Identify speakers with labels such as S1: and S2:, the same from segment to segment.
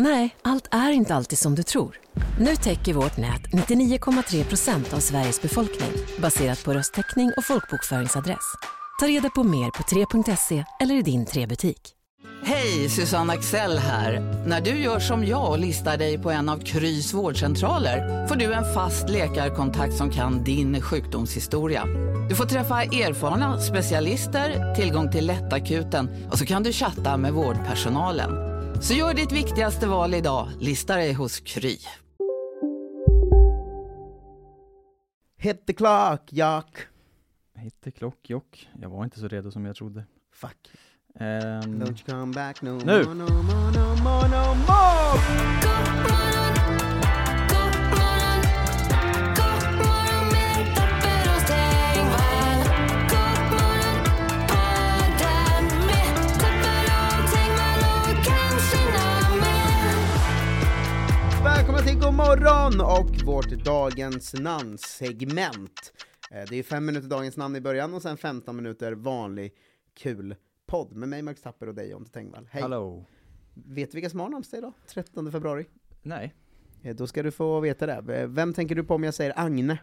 S1: Nej, allt är inte alltid som du tror. Nu täcker vårt nät 99,3 procent av Sveriges befolkning baserat på röstteckning och folkbokföringsadress. Ta reda på mer på 3.se eller i din 3-butik.
S2: Hej, Susanne Axel här. När du gör som jag och listar dig på en av Krys vårdcentraler får du en fast läkarkontakt som kan din sjukdomshistoria. Du får träffa erfarna specialister, tillgång till lättakuten och så kan du chatta med vårdpersonalen. Så gör ditt viktigaste val idag, listar dig hos Kry.
S3: Hit the clock, Jack.
S4: Mm. Hitte klock, jock. Jag var inte så redo som jag trodde.
S3: Fuck.
S4: Ehm,
S3: Don't you come back no
S4: Nu.
S3: more, no more, no more, no more. Välkomna till God morgon och vårt dagens namnsegment. Eh, Det är fem minuter dagens namn i början och sen 15 minuter vanlig kul podd med mig Max Tapper och dig Jonte Tengvall. Hej!
S4: hallå.
S3: Vet du vilka som har namnsdag idag? 13 februari.
S4: Nej,
S3: Eh, Då ska du få veta det. Eh, Vem tänker du på om jag säger Agne?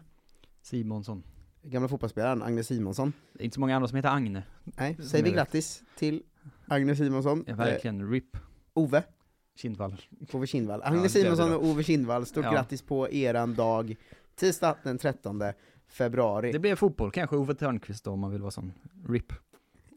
S4: Simonsson.
S3: Gamla fotbollsspelaren Agne Simonsson.
S4: Det är inte så många andra som heter Agne.
S3: Nej, säger vi
S4: är rätt.
S3: grattis till Agne Simonsson.
S4: Mm. Ja,
S3: Eh,
S4: verkligen. RIP.
S3: Ove,
S4: Kindvall.
S3: Ove Kindvall.
S4: Ja,
S3: Agne
S4: det är
S3: Simonsson
S4: bra.
S3: och Ove Kindvall, stort
S4: Ja.
S3: grattis på eran dag, tisdag den 13 februari.
S4: Det blev fotboll, kanske Ove Thörnqvist då om man vill vara sån. RIP.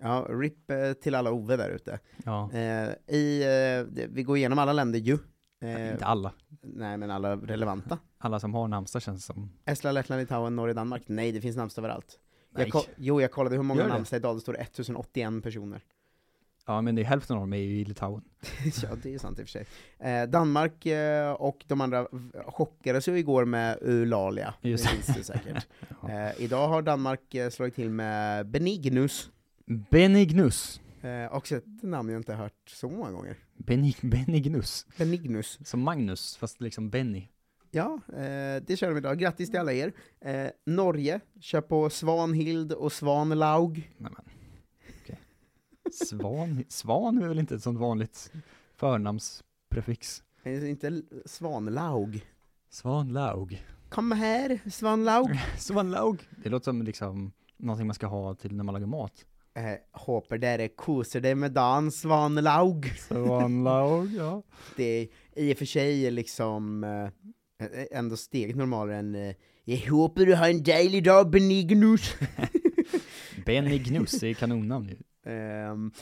S3: Ja, RIP eh, till alla Ove där ute.
S4: Ja,
S3: Eh, i, eh, det- vi går igenom alla länder ju. Eh,
S4: inte alla.
S3: nej, men alla relevanta.
S4: Alla som har namnsdag känns som...
S3: Estland, Lettland, Litauen, Norge, Danmark. Nej, det finns namnsdag överallt. Jag
S4: Nej.
S3: ko- jo, jag kollade hur många
S4: Gör det?
S3: namnsdag idag, det står 1081 personer.
S4: Ja, men det är hälften av dem är ju i Litauen.
S3: ja, det är ju sant i och för sig. Eh, Danmark eh, och de andra v- chockades ju igår med Eulalia.
S4: Just
S3: det. Minns du säkert. eh, idag har Danmark eh, slagit till med Benignus.
S4: Benignus.
S3: Eh, också ett namn jag inte har hört så många gånger.
S4: Benig, Benignus.
S3: Benignus.
S4: Som Magnus, fast liksom Benny.
S3: Ja, eh, det kör de idag. Grattis till alla er. Eh, Norge kör på Svanhild och Svanlaug.
S4: Nej, men. okej. Svan, Svan är väl inte ett sånt vanligt förnamnsprefix?
S3: Eh, inte L- Svanlaug.
S4: Svanlaug.
S3: Kom här, Svanlaug.
S4: Svanlaug. Det låter som liksom någonting man ska ha till när man lagar mat.
S3: Eh, hopper där koser dig med dan, Svanlaug.
S4: Svanlaug, ja.
S3: Det är i och för sig liksom eh, ändå steget normalare än eh, Jag hoppas du har en dejlig dag, Benignus.
S4: Benignus är kanonnamn ju.
S3: Ehm,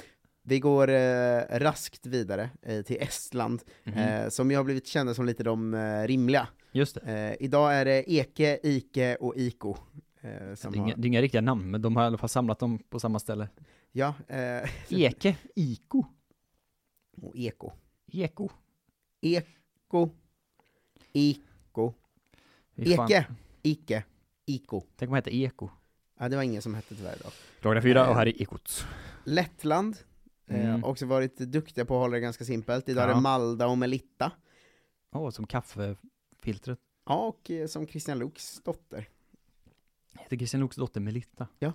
S3: vi går eh, raskt vidare eh, till Estland, eh, som ju har blivit kända som lite de eh, rimliga.
S4: Just det.
S3: Eh, idag är det Eke, Ike och Iko. Eh, som
S4: Det är, inga,
S3: har,
S4: det är inga riktiga namn, men de har i alla fall samlat dem på samma ställe.
S3: ja, eh,
S4: Eke, Iko,
S3: och Eko.
S4: Eko.
S3: Eko, Iko,
S4: Fy fan.
S3: Eke, Ike, Iko.
S4: Tänk om man heter Eko.
S3: Ja, det var ingen som hette tyvärr idag.
S4: Dagarna fyra och här är Ekot.
S3: Lettland, eh,
S4: Mm.
S3: också varit duktiga på att hålla det ganska simpelt. Idag är det
S4: Ja.
S3: Malda och Melitta.
S4: Åh, som kaffefiltret.
S3: Ja, och eh, som Christian Luuks dotter.
S4: Heter Kristian Loks dotter Melitta?
S3: Ja.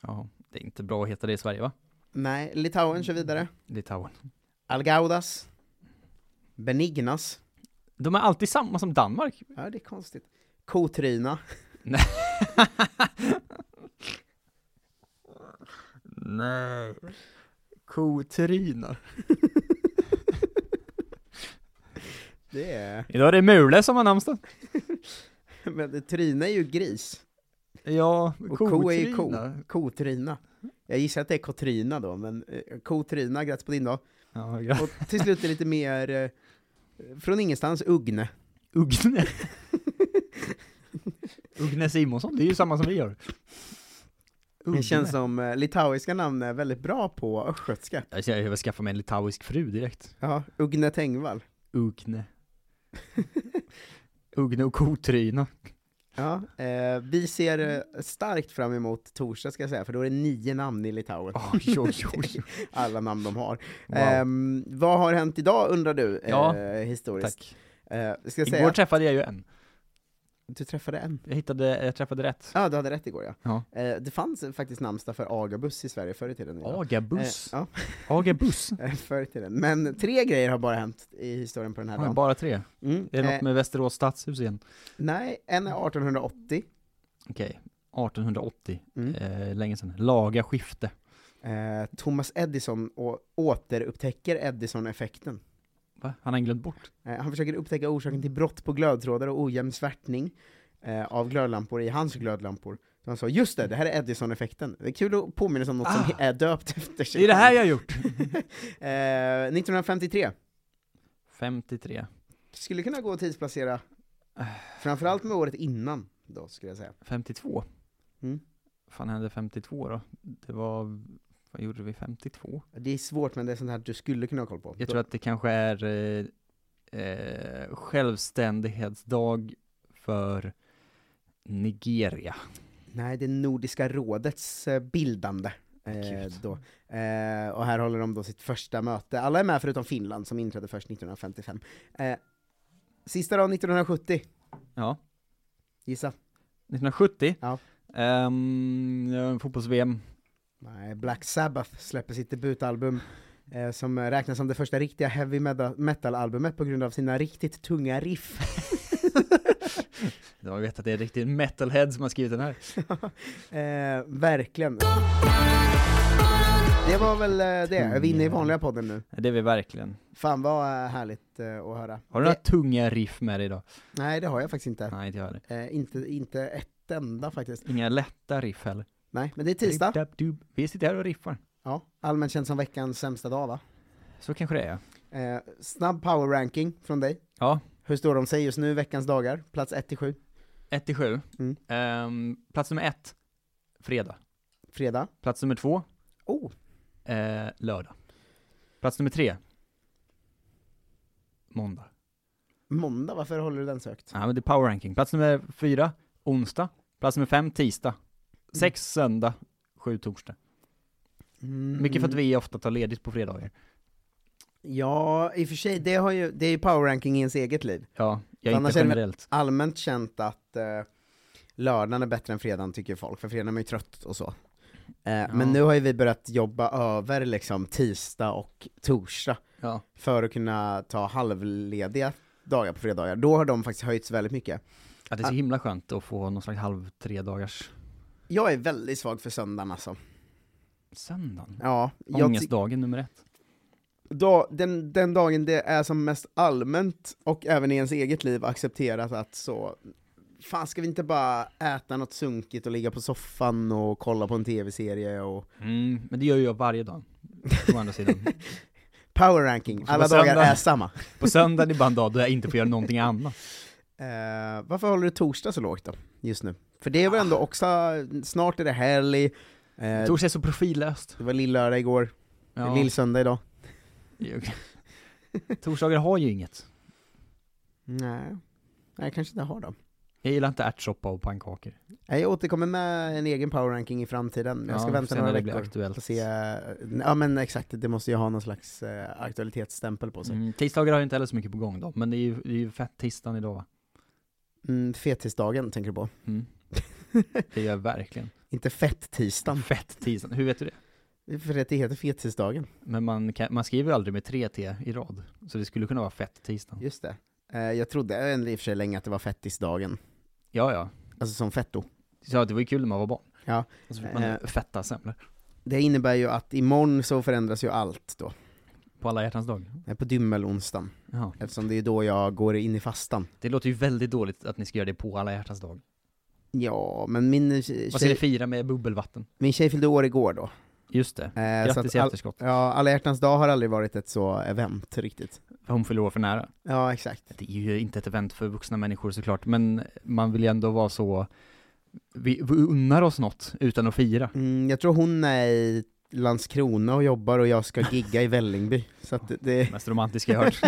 S4: Ja, det är inte bra att heta det i Sverige va?
S3: Nej, Litauen kör vidare.
S4: Litauen.
S3: Algaudas, Benignas.
S4: De är alltid samma som Danmark.
S3: Ja, det är konstigt. Kotryna.
S4: Nej. Kotrina.
S3: Det är...
S4: Idag är det Mule som har namnsdag.
S3: Men Tryna är ju gris.
S4: Ja,
S3: Och ko är ju ko. Kotrina. Jag gissar att det är Kotrina då, men eh, Kotrina, grattis på din dag.
S4: Ja, gra-
S3: Och till slut är lite mer, eh, från ingenstans, Ugne.
S4: Ugne. Ugne Simonsson, det är ju samma som vi gör.
S3: Det känns som eh, litauiska namn är väldigt bra på östgötska.
S4: Jag känner att jag vill skaffa mig en litauisk fru direkt.
S3: Ja, Ugne Tengvall.
S4: Ugne. Ugne och Kotryna.
S3: Ja, eh, vi ser eh, starkt fram emot torsdag ska jag säga, för då är det nio namn i Litauen.
S4: Oj, oj, oj.
S3: Alla namn de har.
S4: Ah. Wow.
S3: Ehm, vad har hänt idag undrar du, eh,
S4: Ja,
S3: historiskt?
S4: Tack.
S3: Eh, ska jag säga,
S4: Igår träffade jag ju en.
S3: du träffade en.
S4: Jag, hittade, jag träffade rätt.
S3: Ja, du hade rätt igår ja.
S4: Ja.
S3: Eh, det fanns eh, faktiskt namnsdag för agabuss i Sverige förr i tiden. Ida.
S4: Agabuss.
S3: Eh, ja,
S4: Agabuss.
S3: eh, förr i tiden. Men tre grejer har bara hänt i historien på den här
S4: Oj,
S3: dagen.
S4: bara tre.
S3: Mm.
S4: Är det
S3: Eh,
S4: något med Västerås stadshus igen?
S3: Nej, en är 1880.
S4: Okej. 1880,
S3: Mm.
S4: eh, länge sedan. Laga skifte.
S3: Eh, Thomas Edison å- återupptäcker Edison-effekten.
S4: Va? Han har glömt bort.
S3: Eh, han försöker upptäcka orsaken till brott på glödtrådar och ojämn svärtning eh, av glödlampor i hans glödlampor. Så han sa just det, det här är Edison-effekten. Det är kul att påminna sig om något som är döpt efter sig.
S4: Ah. Det är det här jag har gjort!
S3: Eh, 1953.
S4: 53.
S3: Skulle kunna gå att tidsplacera, framförallt med året innan då, skulle jag säga.
S4: 52.
S3: Mm.
S4: Vad fan hände 52 då? Det var, vad gjorde vi 52?
S3: Det är svårt, men det är sånt här du skulle kunna ha koll på.
S4: Jag tror att det kanske är eh, eh, självständighetsdag för Nigeria.
S3: Nej, det är Nordiska rådets eh, bildande. Eh,
S4: Gud.
S3: då. Eh, och här håller de då sitt första möte. Alla är med förutom Finland som inträdde först 1955. Eh, sista dagen 1970,
S4: Ja,
S3: gissa?
S4: 1970.
S3: Ja.
S4: Ehm, Fotbolls-VM.
S3: Nej, Black Sabbath släpper sitt debutalbum eh, som räknas som det första riktiga heavy meda- metal-albumet på grund av sina riktigt tunga riff.
S4: Jag vet att det är riktigt metalhead som har skrivit den här.
S3: eh, verkligen. Det var väl eh, det, är vi inne i vanliga podden nu?
S4: Det är vi verkligen.
S3: Fan vad eh, härligt eh, att höra.
S4: Har du
S3: det,
S4: några tunga riff med dig idag?
S3: nej, det har jag faktiskt inte.
S4: Nej, inte jag heller.
S3: Eh, inte, inte ett enda faktiskt.
S4: Inga lätta riff heller.
S3: Nej, men det är tisdag.
S4: Dab, dub. Vi sitter här och riffar.
S3: Ja, allmänt känd som veckans sämsta dag va?
S4: Så kanske det är.
S3: Eh, snabb power ranking från dig.
S4: Ja,
S3: Hur står de sig just nu, veckans dagar? Plats 1 till 7,
S4: 1 till 7.
S3: Mm.
S4: plats nummer 1, fredag.
S3: fredag.
S4: Plats nummer 2,
S3: Oh,
S4: eh, lördag. Plats nummer 3, måndag.
S3: måndag, varför håller du den sökt?
S4: Ja, men det är power ranking. Plats nummer 4, onsdag. Plats nummer 5, tisdag. 6, söndag. 7, torsdag.
S3: Mm.
S4: Mycket för att vi ofta tar ledigt på fredagar.
S3: Ja, i och för sig, det, har ju, det är ju power ranking i ens eget liv.
S4: Ja, jag
S3: För
S4: är
S3: annars
S4: inte
S3: är det väl-
S4: generellt.
S3: Allmänt känt att eh, lördagen är bättre än fredagen tycker folk, för fredagen är man ju trött och så. Eh, Men nu har ju vi börjat jobba över liksom tisdag och torsdag.
S4: Ja.
S3: för att kunna ta halvlediga dagar på fredagar. Då har de faktiskt höjts väldigt mycket.
S4: Att det är så himla skönt att få någon slags halv tre dagars
S3: Jag är väldigt svag för söndagen alltså.
S4: söndag.
S3: Ja, jag ty-
S4: Ångestdagen nummer ett.
S3: då, den, den dagen det är som mest allmänt och även i ens eget liv accepterat att så, fan ska vi inte bara äta något sunkigt och ligga på soffan och kolla på en tv-serie och
S4: Mm, men det gör ju jag varje dag. Å andra sidan.
S3: power ranking,
S4: Så på
S3: alla dagar
S4: söndag-
S3: är samma.
S4: På söndagen är bara en dag då jag inte får göra någonting annat.
S3: Eh, varför håller du torsdag så lågt då, just nu? För det är väl
S4: Ah.
S3: ändå också, snart är det helg, eh,
S4: Torsdag är så profillöst.
S3: det var lillördag igår, det är lillsöndag idag.
S4: Torsdagar har ju inget.
S3: Nej. Nej, jag kanske inte har dem.
S4: Jag gillar inte ärtsoppa och pannkakor.
S3: Nej, Jag återkommer med en egen power ranking i framtiden, men jag ska
S4: Ja,
S3: vänta
S4: sen
S3: några
S4: när det blir
S3: veckor.
S4: aktuellt.
S3: Och se, ja men exakt, det måste ju ha någon slags eh, aktualitetsstämpel på sig. Mm.
S4: Mm, tisdagar har ju inte heller så mycket på gång då, men det är ju, det är ju fett tisdagen idag va?
S3: fetisdagen Mm, tänker du på?
S4: Mm. Det gör jag verkligen.
S3: Inte fett-tisdagen,
S4: Fett tisdagen. Hur vet du det?
S3: för det heter fetisdagen.
S4: Men man, kan, man skriver ju aldrig med tre T i rad, så det skulle kunna vara fett tisdagen.
S3: Just det. Eh, jag trodde ändå i och för sig länge att det var fettisdagen,
S4: Ja, ja.
S3: alltså som fetto.
S4: Ja, det var ju kul när man var barn.
S3: Ja.
S4: Och så fick man
S3: Eh.
S4: fetta semlor.
S3: Det innebär ju att imorgon så förändras ju allt då,
S4: På alla hjärtans dag.
S3: Eh, på dymmelonsdagen,
S4: Ja.
S3: eftersom det är då jag går in i fastan.
S4: Det låter ju väldigt dåligt att ni ska göra det på alla hjärtans dag.
S3: Ja, men min eh, tjej,
S4: Vad ska ni fira med bubbelvatten?
S3: min tjej fyllde år igår då.
S4: Just det.
S3: Eh, så
S4: Grattis
S3: att
S4: i
S3: all-
S4: efterskott.
S3: Ja, alla hjärtans dag har aldrig varit ett så event riktigt.
S4: Hon fyller år för nära.
S3: Ja, exakt.
S4: Det är ju inte ett event för vuxna människor såklart, men man vill ju ändå vara så... Vi, vi unnar oss något utan att fira.
S3: Mm, jag tror hon är i Landskrona och jobbar och jag ska gigga i Vällingby. Så att det, det,
S4: Mest romantiska jag hört.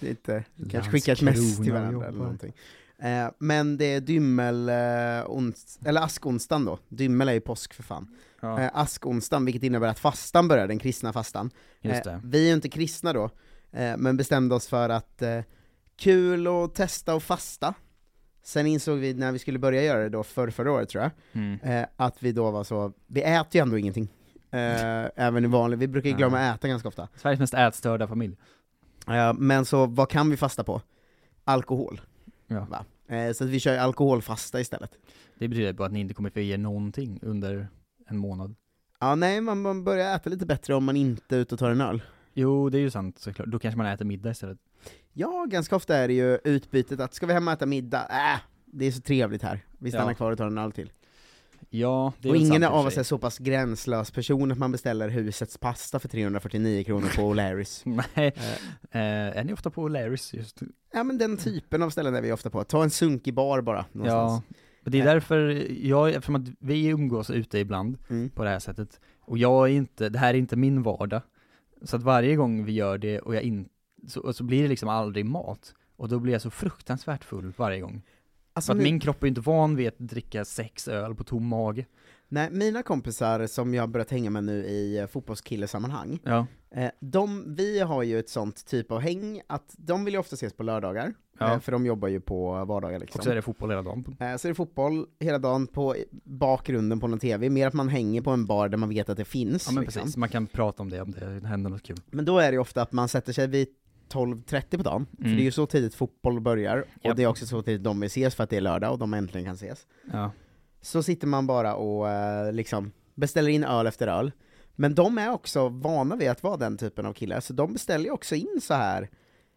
S3: det är inte, vi kanske skickar ett mess till varandra eller någonting. Eh, men det är dymmel, eh, ons, eller askonstan då, dymmel är ju påsk för fan.
S4: Ja.
S3: Eh, askonstan, vilket innebär att fastan börjar, den kristna fastan.
S4: Just
S3: Eh,
S4: det.
S3: vi är ju inte kristna då, eh, men bestämde oss för att eh, kul att testa och fasta. Sen insåg vi när vi skulle börja göra det då, för förra året tror jag,
S4: Mm.
S3: eh, att vi då var så, vi äter ju ändå ingenting. Eh, även i vanlig, vi brukar ju glömma att äta ganska ofta.
S4: Sveriges mest ätstörda familj.
S3: Eh, men så vad kan vi fasta på? Alkohol.
S4: Ja.
S3: Va? Eh, så att vi kör alkoholfasta istället.
S4: Det betyder bara att ni inte kommer få i er någonting under en månad.
S3: Ja nej, man, man börjar äta lite bättre om man inte är ute och tar en öl.
S4: Jo, det är ju sant såklart. Då kanske man äter middag istället.
S3: Ja, ganska ofta är det ju utbytet att ska vi hem och äta middag? Äh, det är så trevligt här. Vi stannar
S4: Ja.
S3: kvar och tar en öl till.
S4: Ja, det är
S3: Och
S4: väl
S3: ingen
S4: sant i och
S3: av
S4: för
S3: oss
S4: sig.
S3: är så pass gränslös person att man beställer husets pasta för 349 kronor på O'Larrys.
S4: Nej. Eh, är ni ofta på Larrys just nu?
S3: Ja men den typen av ställen är vi ofta på. Ta en sunkig bar bara, någonstans.
S4: Ja. Det är
S3: Nej.
S4: därför jag, eftersom att vi umgås ute ibland
S3: Mm.
S4: på det här sättet. Och jag är inte, det här är inte min vardag. Så att varje gång vi gör det och jag inte, så, så blir det liksom aldrig mat. Och då blir jag så fruktansvärt full varje gång.
S3: Alltså,
S4: För att
S3: nu-
S4: min kropp är ju inte van vid att dricka sex öl på tom mage.
S3: Nej, mina kompisar som jag har börjat hänga med nu i eh, fotbollskillesammanhang,
S4: Ja.
S3: eh, de, vi har ju ett sånt typ av häng att de vill ju ofta ses på lördagar,
S4: Ja.
S3: eh, för de jobbar ju på vardagar liksom.
S4: Och så är det fotboll hela dagen.
S3: Eh, Så är det fotboll hela dagen på bakgrunden på någon TV, mer att man hänger på en bar där man vet att det finns.
S4: Ja men
S3: liksom.
S4: precis, man kan prata om det om det händer något kul.
S3: men då är det ju ofta att man sätter sig vid 12.30 på dagen, för
S4: Mm.
S3: det är ju så tidigt fotboll börjar, och
S4: Japp.
S3: det är också så tidigt de vill ses för att det är lördag och de äntligen kan ses.
S4: Ja.
S3: Så sitter man bara och eh, liksom beställer in öl efter öl. Men de är också vana vid att vara den typen av killar, så de beställer ju också in så här.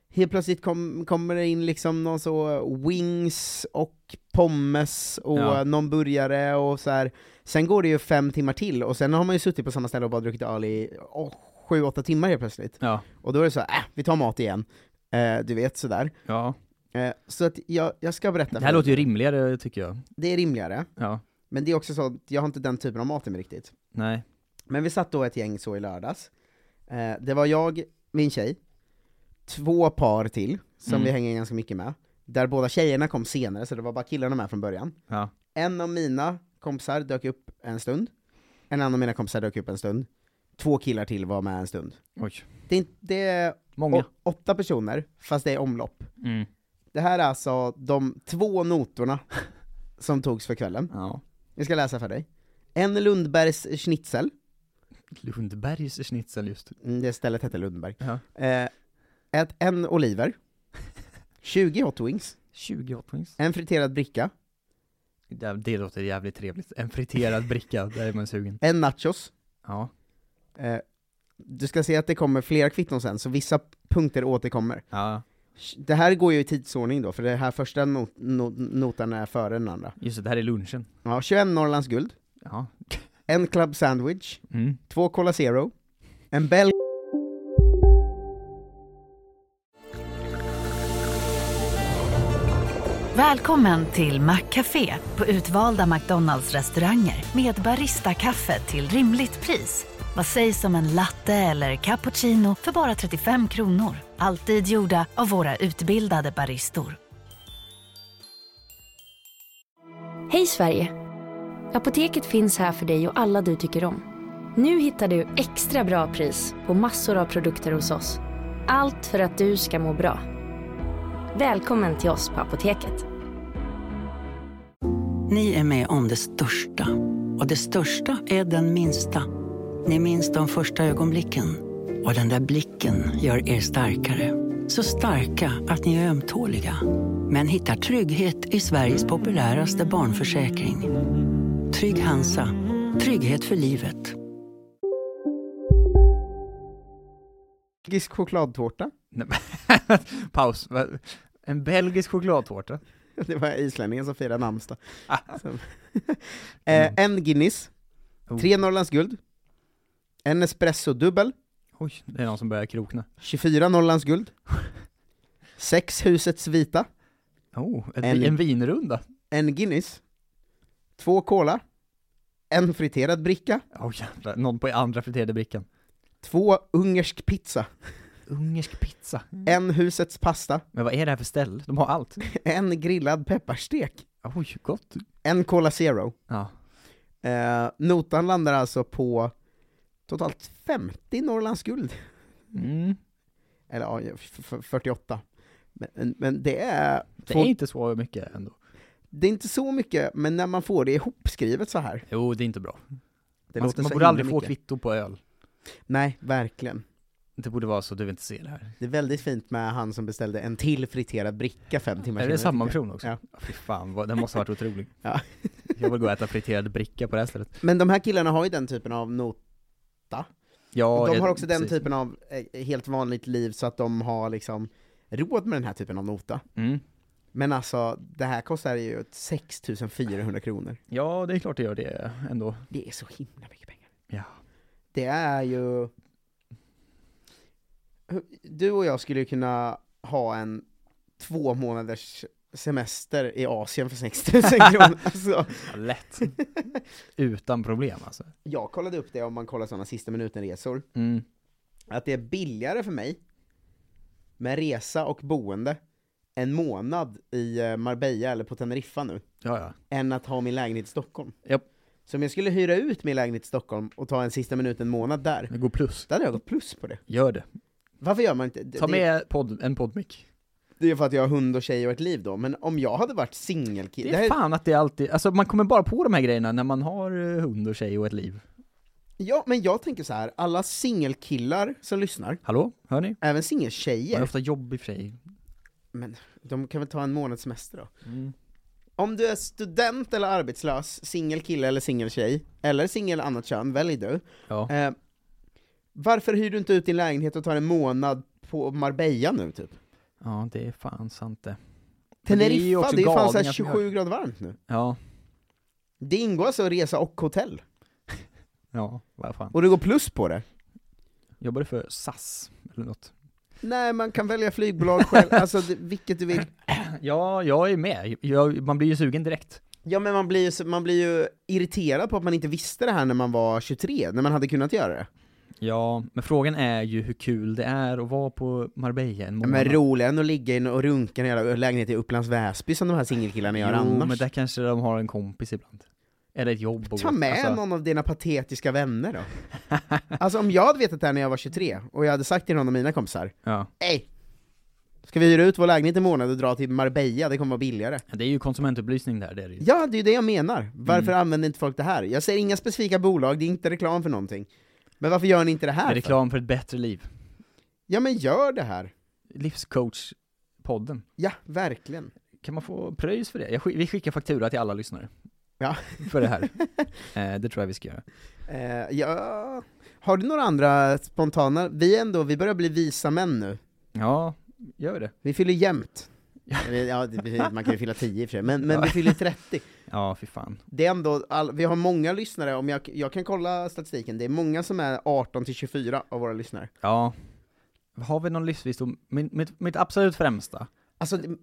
S3: Helt plötsligt kom, kommer det in liksom någon så wings och pommes och
S4: Ja.
S3: någon burgare och så här. Sen går det ju fem timmar till och sen har man ju suttit på samma ställe och bara druckit öl i åh, sju, åtta timmar helt plötsligt.
S4: Ja.
S3: Och då är det så här, äh, vi tar mat igen. Eh, du vet sådär.
S4: ja.
S3: Eh, så att jag, jag ska berätta
S4: Det här
S3: för
S4: låter
S3: dig.
S4: ju rimligare tycker jag.
S3: Det är rimligare.
S4: Ja.
S3: Men det är också så att jag har inte den typen av mat i mig riktigt.
S4: Nej.
S3: Men vi satt då ett gäng så i lördags. Eh, det var jag, min tjej, två par till, som
S4: Mm.
S3: vi hänger ganska mycket med. Där båda tjejerna kom senare, så det var bara killarna med från början.
S4: Ja.
S3: En av mina kompisar dök upp en stund, en annan av mina kompisar dök upp en stund, två killar till var med en stund.
S4: Oj.
S3: Det är, inte- det är
S4: Många.
S3: å- åtta personer, fast det är omlopp.
S4: Mm.
S3: Det här är alltså de två notorna som togs för kvällen.
S4: Ja.
S3: Jag ska läsa för dig. En Lundbergs schnitzel,
S4: Lundbergs schnitzel just.
S3: Mm, det stället hette Lundberg.
S4: Ja.
S3: Eh, ett, en oliver, 20 hot wings,
S4: 20 hotwings.
S3: en friterad bricka,
S4: Det, det låter jävligt trevligt. En friterad bricka, där är man sugen.
S3: en nachos.
S4: Ja.
S3: Eh, du ska se att det kommer flera kvitton sen, så vissa punkter återkommer.
S4: Ja.
S3: Det här går ju i tidsordning då, för det här första not no notan är före den andra.
S4: Just det, det här är lunchen.
S3: Ja, 21 Norrlands guld,
S4: Ja.
S3: en club sandwich,
S4: Mm.
S3: två Cola Zero, en bell...
S5: Välkommen till Maccafé på utvalda McDonalds restauranger med Baristakaffe till rimligt pris. Vad sägs om en latte eller cappuccino för bara 35 kronor? Alltid gjorda av våra utbildade baristor.
S6: Hej Sverige! Apoteket finns här för dig och alla du tycker om. Nu hittar du extra bra pris på massor av produkter hos oss. Allt för att du ska må bra. Välkommen till oss på Apoteket.
S7: Ni är med om det största. Och det största är den minsta. Ni minns de första ögonblicken. Och den där blicken gör er starkare. Så starka att ni är ömtåliga. Men hittar trygghet i Sveriges populäraste barnförsäkring. Trygg Hansa. Trygghet för livet.
S3: Belgisk chokladtårta.
S4: Nej, men- Paus. Va? En belgisk chokladtårta.
S3: Det var islänningen som firade namnsdag. Som- eh, en Guinness,
S4: Oh.
S3: tre Norrlands guld, en espresso dubbel,
S4: Oj, det är någon som börjar krokna.
S3: 24 Norrlands guld, sex husets vita,
S4: Oh, ett,
S3: En-
S4: en vinrunda.
S3: en Guinness, två cola, en friterad bricka,
S4: Åh jävlar, någon på andra friterade brickan.
S3: två ungersk pizza,
S4: Ungersk pizza.
S3: en husets pasta,
S4: Men vad är det här för ställe? De har allt.
S3: en grillad pepparstek,
S4: Oj, gott.
S3: en Cola Zero.
S4: Ja.
S3: Eh, notan landar alltså på totalt 50 Norrlands guld.
S4: Mm.
S3: Eller ja, f- f- 48. Men, men det, är,
S4: Det
S3: Får-
S4: är inte så mycket ändå.
S3: det är inte så mycket, men när man får det ihopskrivet så här.
S4: Jo, det är inte bra.
S3: Det
S4: man
S3: låter
S4: man
S3: så
S4: borde aldrig
S3: himla
S4: få
S3: mycket.
S4: kvitto på öl.
S3: Nej, verkligen.
S4: Det borde vara så du vill inte ser det här.
S3: Det är väldigt fint med han som beställde en till friterad bricka fem timmar
S4: Är det samma
S3: tycker jag.
S4: person också?
S3: Ja.
S4: Fy fan, vad, den måste ha varit otrolig.
S3: Ja.
S4: Jag vill gå och äta friterad bricka på det här stället.
S3: Men de här killarna har ju den typen av not,
S4: Ja,
S3: de
S4: jag-
S3: har också den
S4: precis.
S3: typen av eh, helt vanligt liv så att de har liksom råd med den här typen av nota.
S4: Mm.
S3: Men alltså, det här kostar ju 6400 kronor.
S4: Ja, det är klart det gör det ändå.
S3: Det är så himla mycket pengar.
S4: Ja.
S3: Det är ju... Du och jag skulle ju kunna ha en två månaders semester i Asien för 6000 kronor. Alltså,
S4: Lätt. Utan problem alltså.
S3: jag kollade upp det om man kollar sådana sista minuten-resor.
S4: Mm.
S3: att det är billigare för mig med resa och boende en månad i eh, Marbella eller på Teneriffa nu,
S4: Ja, ja.
S3: än att ha min lägenhet i Stockholm.
S4: Japp.
S3: Så om jag skulle hyra ut min lägenhet i Stockholm och ta en sista minuten månad där,
S4: Det går plus.
S3: då hade jag gått plus på det.
S4: Gör det.
S3: Varför gör man inte det?
S4: Ta
S3: det-
S4: med podd, en poddmick.
S3: Det är för att jag har hund och tjej och ett liv då, men om jag hade varit singelkille...
S4: Det är fan att det alltid, alltså man kommer bara på de här grejerna när man har eh, hund och tjej och ett liv.
S3: Ja, men jag tänker så här. alla singelkillar som lyssnar,
S4: Hallå, hör ni?
S3: även
S4: Man är
S3: singeltjejer,
S4: ofta jobbig för sig.
S3: men de kan väl ta en månads semester då? Om du är student eller arbetslös, singel kille eller singel tjej, eller singel annat kön, välj du.
S4: Ja.
S3: Eh, varför hyr du inte ut din lägenhet och tar en månad på Marbella nu typ?
S4: ja, det är fan sant det. Men det är ju
S3: Teneriffa,
S4: också
S3: det är ju fan såhär
S4: galningar som gör
S3: 27 grader varmt nu.
S4: Ja,
S3: Det ingår alltså resa och hotell,
S4: ja, vad fan.
S3: och det går plus på det.
S4: Jobbar du för SAS eller något?
S3: Nej, man kan välja flygbolag själv, alltså det, vilket du vill.
S4: Ja, jag är med. Jag, man blir ju sugen direkt.
S3: Ja men man blir, ju, så- man blir ju irriterad på att man inte visste det här när man var 23, när man hade kunnat göra det.
S4: Ja, men frågan är ju hur kul det är att vara på Marbella en
S3: Ja,
S4: månad.
S3: men roligare än att ligga in och runka i en jävla lägenhet i Upplands Väsby som de här singelkillarna gör
S4: jo,
S3: annars.
S4: men där kanske de har en kompis ibland. Eller ett jobb och
S3: Ta med någon av dina patetiska vänner då. alltså om jag hade vetat det här när jag var 23, och jag hade sagt till någon av mina kompisar,
S4: Ja.
S3: Hej! Ska vi hyra ut vår lägenhet i månad och dra till Marbella, det kommer vara billigare.
S4: Det är ju konsumentupplysning där, det är det ju.
S3: Ja, det är ju det jag menar. Varför
S4: Mm.
S3: använder inte folk det här? Jag säger inga specifika bolag, det är inte reklam för någonting. Men varför gör ni inte det
S4: Det
S3: här?
S4: är reklam för ett bättre liv.
S3: För? Ja men gör det här.
S4: Livscoach-podden.
S3: Ja, verkligen.
S4: Kan man få pröjs för det? Jag, skick- vi skickar faktura till alla lyssnare.
S3: Ja.
S4: För det här. eh, det tror jag vi ska göra.
S3: Eh, ja. Har du några andra spontana? Vi är ändå, vi börjar bli visa män nu.
S4: Ja, gör det.
S3: Vi fyller jämnt. Eller, Ja, det betyder- man kan ju fylla 10 i och för sig, men, men vi fyller 30.
S4: Ja, fy fan.
S3: Det är ändå, all, vi har många lyssnare, om jag, jag kan kolla statistiken, det är många som är 18 till 24 av våra lyssnare.
S4: Ja. Har vi någon livsvisdom? Min, mitt, mitt absolut främsta.
S3: Alltså, det-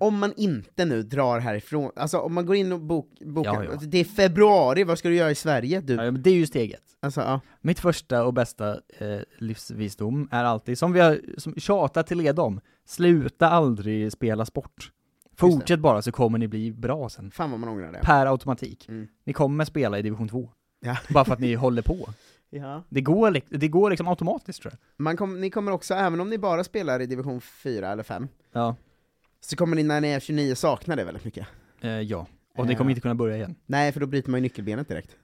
S3: om man inte nu drar härifrån, alltså om man går in och bok, bokar,
S4: Ja, ja.
S3: alltså, det är februari, vad ska du göra i Sverige? Du,
S4: Ja, men det är ju steget.
S3: alltså, ja.
S4: Mitt första och bästa eh, livsvisdom är alltid, som vi har som tjatat till er om, sluta aldrig spela sport. Fortsätt bara så kommer ni bli bra sen.
S3: Fan vad man ångrar det.
S4: Per automatik.
S3: Mm.
S4: Ni kommer spela i division 2.
S3: Ja.
S4: Bara för att ni håller på.
S3: Ja.
S4: Det går, lik- det går liksom automatiskt tror jag.
S3: Man kom, ni kommer också, även om ni bara spelar i division 4 eller 5,
S4: Ja.
S3: så kommer ni när ni är 29 sakna det väldigt mycket.
S4: Eh, ja. Och ni
S3: Eh.
S4: kommer inte kunna börja igen.
S3: Nej, för då bryter man ju nyckelbenet direkt.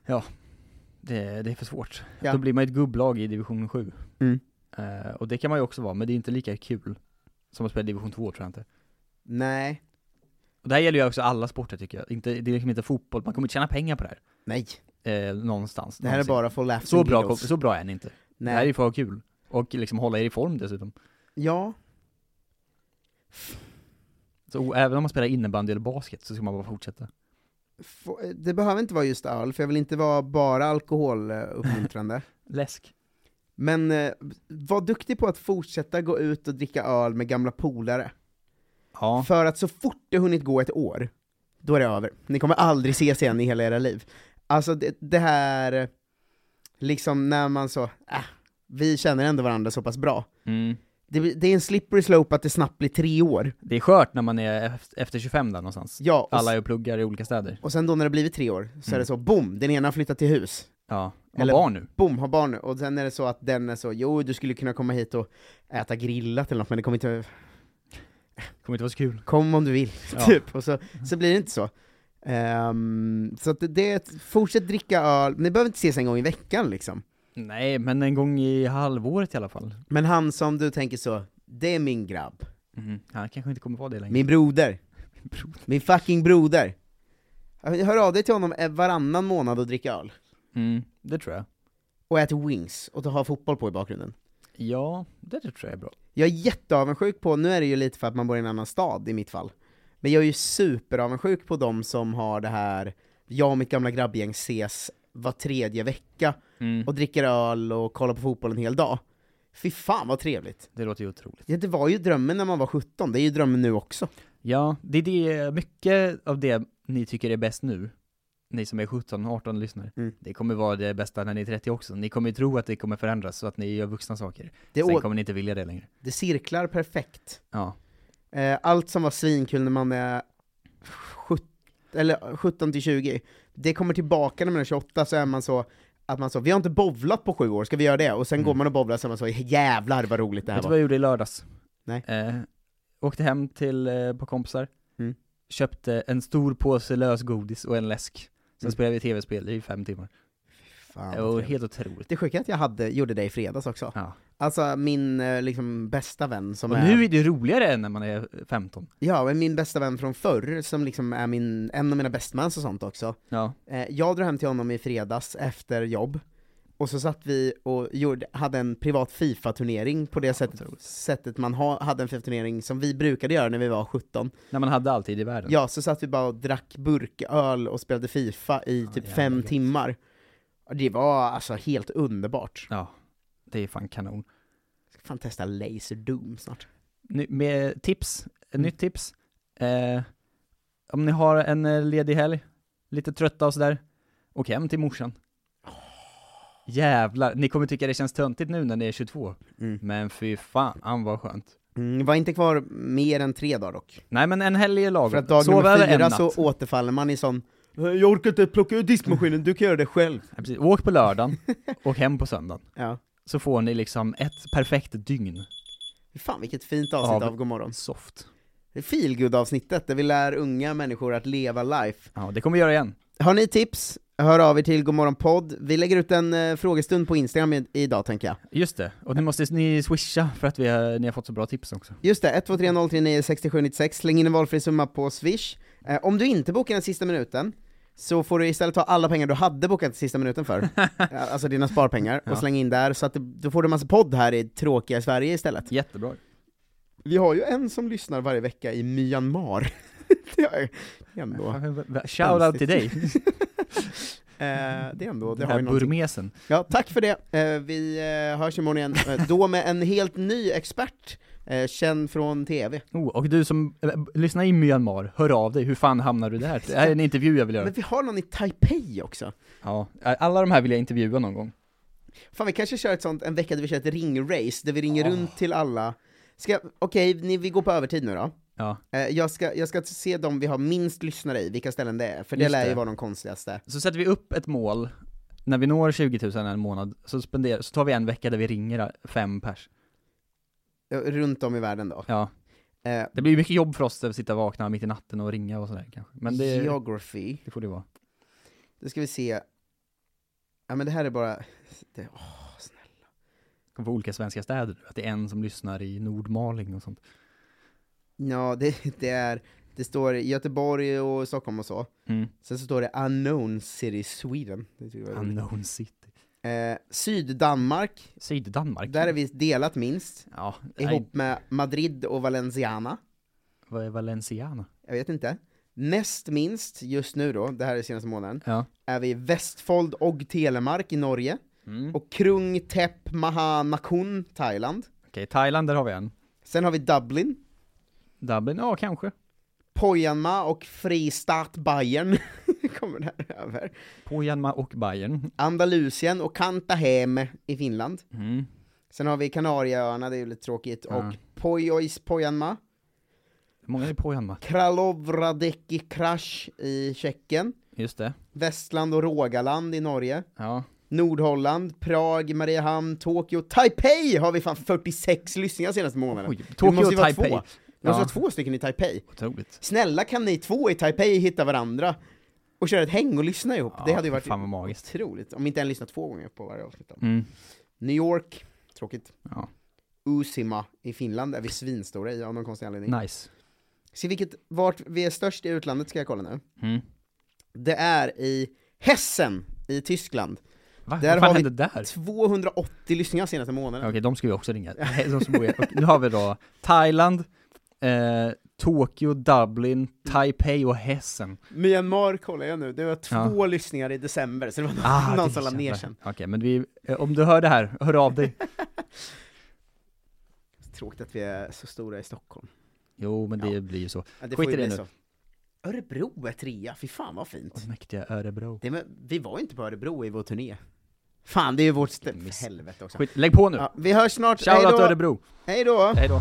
S4: Det, det är för svårt.
S3: Ja.
S4: Då blir man ju ett gubblag i division 7.
S3: Mm.
S4: Eh, och det kan man ju också vara, men det är inte lika kul som att spela division 2 tror jag inte.
S3: Nej,
S4: Och det här gäller ju också alla sporter tycker jag. Inte, det är liksom inte fotboll, man kommer inte tjäna pengar på det här.
S3: nej.
S4: eh, någonstans.
S3: Det här är
S4: någonsin.
S3: bara for laughs
S4: så
S3: and
S4: bra, kom-
S3: giggles.
S4: så bra är ni inte. Det här är
S3: Nej.
S4: ju för att ha kul. Och liksom hålla er i form dessutom.
S3: Ja.
S4: Så o- även om man spelar innebandy eller basket så ska man bara fortsätta.
S3: Få- Det behöver inte vara just öl, för jag vill inte vara bara eh, alkoholuppmuntrande.
S4: Läsk.
S3: Men eh, var duktig på att fortsätta gå ut och dricka öl med gamla polare.
S4: Ja.
S3: För att så fort det hunnit gå ett år, då är det över. Ni kommer aldrig ses igen i hela era liv. Alltså det, det här, liksom när man så, äh, vi känner ändå varandra så pass bra.
S4: Mm.
S3: det, blir- det är en slippery slope att det snabbt blir tre år.
S4: Det är skört när man är ef- efter 25 där någonstans.
S3: Ja, och,
S4: Alla Mm.
S3: s-
S4: är och pluggar i olika städer.
S3: och sen då när det blivit tre år, så är det så, boom, den ena har flyttat till hus.
S4: Ja, och
S3: Eller-
S4: barn nu.
S3: boom, har barn nu. Och sen är det så att den är så, jo du skulle kunna komma hit och äta grillat eller något, men det kommer inte,
S4: Kommer inte vara så kul.
S3: kom om du vill,
S4: Ja.
S3: typ. Och så, så blir det inte så. Ehm, så att det, det är ett, fortsätt dricka öl, ni behöver inte ses en gång i veckan liksom.
S4: Nej, men en gång i halvåret i alla fall.
S3: Men han som du tänker så, det är min grabb,
S4: Mm. Han kanske inte kommer vara det längre.
S3: min broder,
S4: bror.
S3: min fucking broder. Hör av dig till honom eh, varannan månad och drick öl.
S4: Mm, det tror jag.
S3: Och ät wings, och ha fotboll på i bakgrunden.
S4: Ja, det tror jag är bra.
S3: Jag är jätteavundsjuk på, nu är det ju lite för att man bor i en annan stad i mitt fall, men jag är ju superavundsjuk på de som har det här, jag och mitt gamla grabbgäng ses var tredje vecka
S4: Mm.
S3: och dricker öl och kollar på fotboll en hel dag. Fy fan vad trevligt!
S4: Det låter ju otroligt.
S3: Ja, det var ju drömmen när man var 17, det är ju drömmen nu också.
S4: Ja, det är det, mycket av det ni tycker är bäst nu, ni som är 17 och 18 lyssnare,
S3: Mm.
S4: det kommer vara det bästa när ni är 30 också. Ni kommer ju tro att det kommer förändras så att ni gör vuxna saker.
S3: Det,
S4: Sen
S3: å-
S4: kommer ni inte vilja det längre.
S3: det cirklar perfekt.
S4: Ja.
S3: Eh, Allt som var svinkul när man är 17, eller 17 till 20, det kommer tillbaka när man är 28, så är man så att man så, vi har inte bovlat på sju år, ska vi göra det? Och sen
S4: Mm.
S3: går man och bovlar, så är man så, jävlar vad roligt det här
S4: Vet du
S3: var.
S4: vad jag gjorde i lördags?
S3: Nej.
S4: Eh, åkte hem till eh, på kompisar,
S3: Mm.
S4: köpte en stor påse lösgodis och en läsk. Sen
S3: Mm.
S4: spelade vi tv-spel i fem timmar.
S3: Fan,
S4: det
S3: vad
S4: var
S3: trevligt.
S4: helt otroligt.
S3: det sjuka är att jag hade, gjorde det i fredags också.
S4: Ja.
S3: Alltså min eh, liksom, bästa vän som
S4: Och
S3: är,
S4: nu är det roligare än när man är 15.
S3: ja, men min bästa vän från förr, som liksom är min, en av mina bästmans och sånt också.
S4: Ja.
S3: Eh, jag drog hem till honom i fredags efter jobb, och så satt vi och gjorde, hade en privat Fifa-turnering på det sättet,
S4: otroligt.
S3: sättet man ha, hade en Fifa-turnering som vi brukade göra när vi var 17.
S4: När man hade alltid i världen.
S3: Ja, så satt vi bara och drack burköl och spelade Fifa i typ
S4: jävla
S3: fem
S4: gött.
S3: timmar. Och Det var alltså helt underbart.
S4: Ja, det är fan kanon.
S3: Ska fan testa Laser Doom snart.
S4: Ny, med tips,
S3: Mm.
S4: ett nytt tips. Eh, om ni har en eh, ledig helg, lite trötta och sådär, åk hem till morsan.
S3: Oh.
S4: Jävlar, ni kommer tycka det känns töntigt nu när ni är 22,
S3: Mm.
S4: men fy fan vad skönt.
S3: Mm, var inte kvar mer än tre dagar dock.
S4: Nej men en helg är lagom.
S3: För att dag
S4: Sov över
S3: nummer
S4: en
S3: fyra
S4: natt.
S3: så återfaller man i sån Eh, jag orkar inte plocka ut diskmaskinen, du kan göra det själv.
S4: Ja, precis. Åk på lördagen, och hem på söndagen.
S3: Ja.
S4: Så får ni liksom ett perfekt dygn.
S3: Fan vilket fint avsnitt
S4: Av-
S3: av Godmorgon.
S4: Soft.
S3: Det är feelgood-avsnittet där vi lär unga människor att leva life.
S4: Ja, det kommer vi göra igen.
S3: Har ni tips? Hör av er till Godmorgonpodd. Vi lägger ut en eh, frågestund på Instagram i- idag tänker jag.
S4: Just det, och ni måste ni swisha för att vi har, ni har fått så bra tips också.
S3: Just det, 123-039-6796, släng in en valfri summa på swish. Eh, om du inte bokar den sista minuten, så får du istället ta alla pengar du hade bokat sista minuten för, Eh, alltså dina sparpengar, och
S4: Ja.
S3: slänga in där, så att det, då får du en massa podd här i tråkiga Sverige istället.
S4: Jättebra.
S3: Vi har ju en som lyssnar varje vecka i Myanmar. det är det är ändå, eh,
S4: Shoutout till dig,
S3: Eh, det är ändå, det
S4: den
S3: har
S4: här
S3: ju någonting.
S4: burmesen.
S3: Ja, tack för det. Eh, vi eh, hörs imorgon igen, eh, då med en helt ny expert, eh, känd från TV.
S4: Oh, och du som eh, lyssnar i Myanmar, hör av dig, hur fan hamnar du där? Det här är en intervju jag vill göra.
S3: Men vi har någon i Taipei också.
S4: Ja, alla de här vill jag intervjua någon gång.
S3: Fan vi kanske kör ett sånt, en vecka där vi kör ett ringrace, där vi ringer runt till alla Ska, okej, ni vi går på övertid nu då.
S4: Ja.
S3: Eh, jag, ska, jag ska se de vi har minst lyssnare i, vilka ställen det är, för det
S4: Just
S3: lär ju
S4: det.
S3: vara de konstigaste.
S4: Så sätter vi upp ett mål, när vi når 20 000 en månad, så, spenderar, så tar vi en vecka där vi ringer fem pers.
S3: Eh, Runt om i världen då.
S4: Ja,
S3: Eh,
S4: det blir ju mycket jobb för oss att sitta vakna mitt i natten och ringa och sådär kanske. Men det,
S3: Geography,
S4: det får det vara.
S3: då ska vi se. Ja men det här är bara, det, åh, snälla.
S4: Det kommer vara olika svenska städer, att det är en som lyssnar i Nordmaling och sånt.
S3: ja det, det är, det står Göteborg och Stockholm och så.
S4: Mm.
S3: Sen så står det unknown city Sweden. Det tycker jag var roligt.
S4: Unknown city.
S3: eh, Syddanmark,
S4: Syddanmark.
S3: där är vi delat minst.
S4: Ja, nej,
S3: ihop med Madrid och Valenciana.
S4: vad är Valenciana?
S3: Jag vet inte. Näst minst just nu då, det här är senaste månaden,
S4: Ja.
S3: är vi Vestfold och Telemark i Norge
S4: Mm.
S3: och Krung Thep Maha Nakhon, Thailand.
S4: Okej, Thailand, där har vi en.
S3: Sen har vi Dublin,
S4: Dublin, ja kanske.
S3: Pojanma och Fristat Bayern kommer där över.
S4: Pojanma och Bayern.
S3: Andalusien och Kantaheme i Finland. Sen har vi Kanarieöarna, det är ju lite tråkigt.
S4: Mm. Ja.
S3: Och Pojois Pojanma,
S4: Hur många är på Hjalmar?
S3: Kralovradeki Krasch i Tjeckien,
S4: Just det.
S3: Västland och Rogaland i Norge,
S4: Ja.
S3: Nordholland, Prag, Mariehamn, Tokyo, Taipei har vi fan 46 lyssningar senaste månaden.
S4: Oj,
S3: Det
S4: Tokyo
S3: måste
S4: och
S3: ju vara
S4: Taipei.
S3: Två. Det måste
S4: Ja,
S3: vara två stycken i Taipei.
S4: otroligt.
S3: Snälla kan ni två i Taipei hitta varandra och köra ett häng och lyssna ihop? det
S4: Ja,
S3: hade ju varit
S4: fan vad magiskt.
S3: otroligt. Om inte en lyssnar två gånger på varje avsnitt. då.
S4: Mm.
S3: New York, tråkigt.
S4: Ja.
S3: Uusimaa i Finland är vi svinstora i av någon konstig anledning.
S4: Nice.
S3: Se vilket, vart vi är störst i utlandet ska jag kolla nu.
S4: Mm.
S3: Det är i Hessen i Tyskland.
S4: Va?
S3: Där
S4: Vad fan
S3: har vi
S4: hände där?
S3: 280 lyssningar senaste månaden.
S4: Okej, de ska vi också ringa. De som bor i. Okej, nu har vi då Thailand, eh, Tokyo, Dublin, Taipei och Hessen.
S3: Myanmar kollar jag nu, det var två lyssningar i december, så det var någon,
S4: Ah,
S3: någon som la
S4: till
S3: ner sen.
S4: exempel. Okej, men vi, eh, om du hör det här, hör av dig.
S3: Tråkigt att vi är så stora i Stockholm.
S4: Jo, men det blir ju så.
S3: Ja, det får
S4: Skit i
S3: ju
S4: det
S3: bli
S4: nu.
S3: så. Örebro är trea, fy fan vad fint.
S4: Mäktiga Örebro.
S3: Det, men, vi var ju inte på Örebro i vår turné. Fan, det är ju vårt ställe.
S4: Miss.
S3: För helvete också.
S4: Skit, lägg på nu!
S3: Ja, vi hörs snart, Hej
S4: Shoutout
S3: då.
S4: Örebro!
S3: Hej då!
S4: Hej då!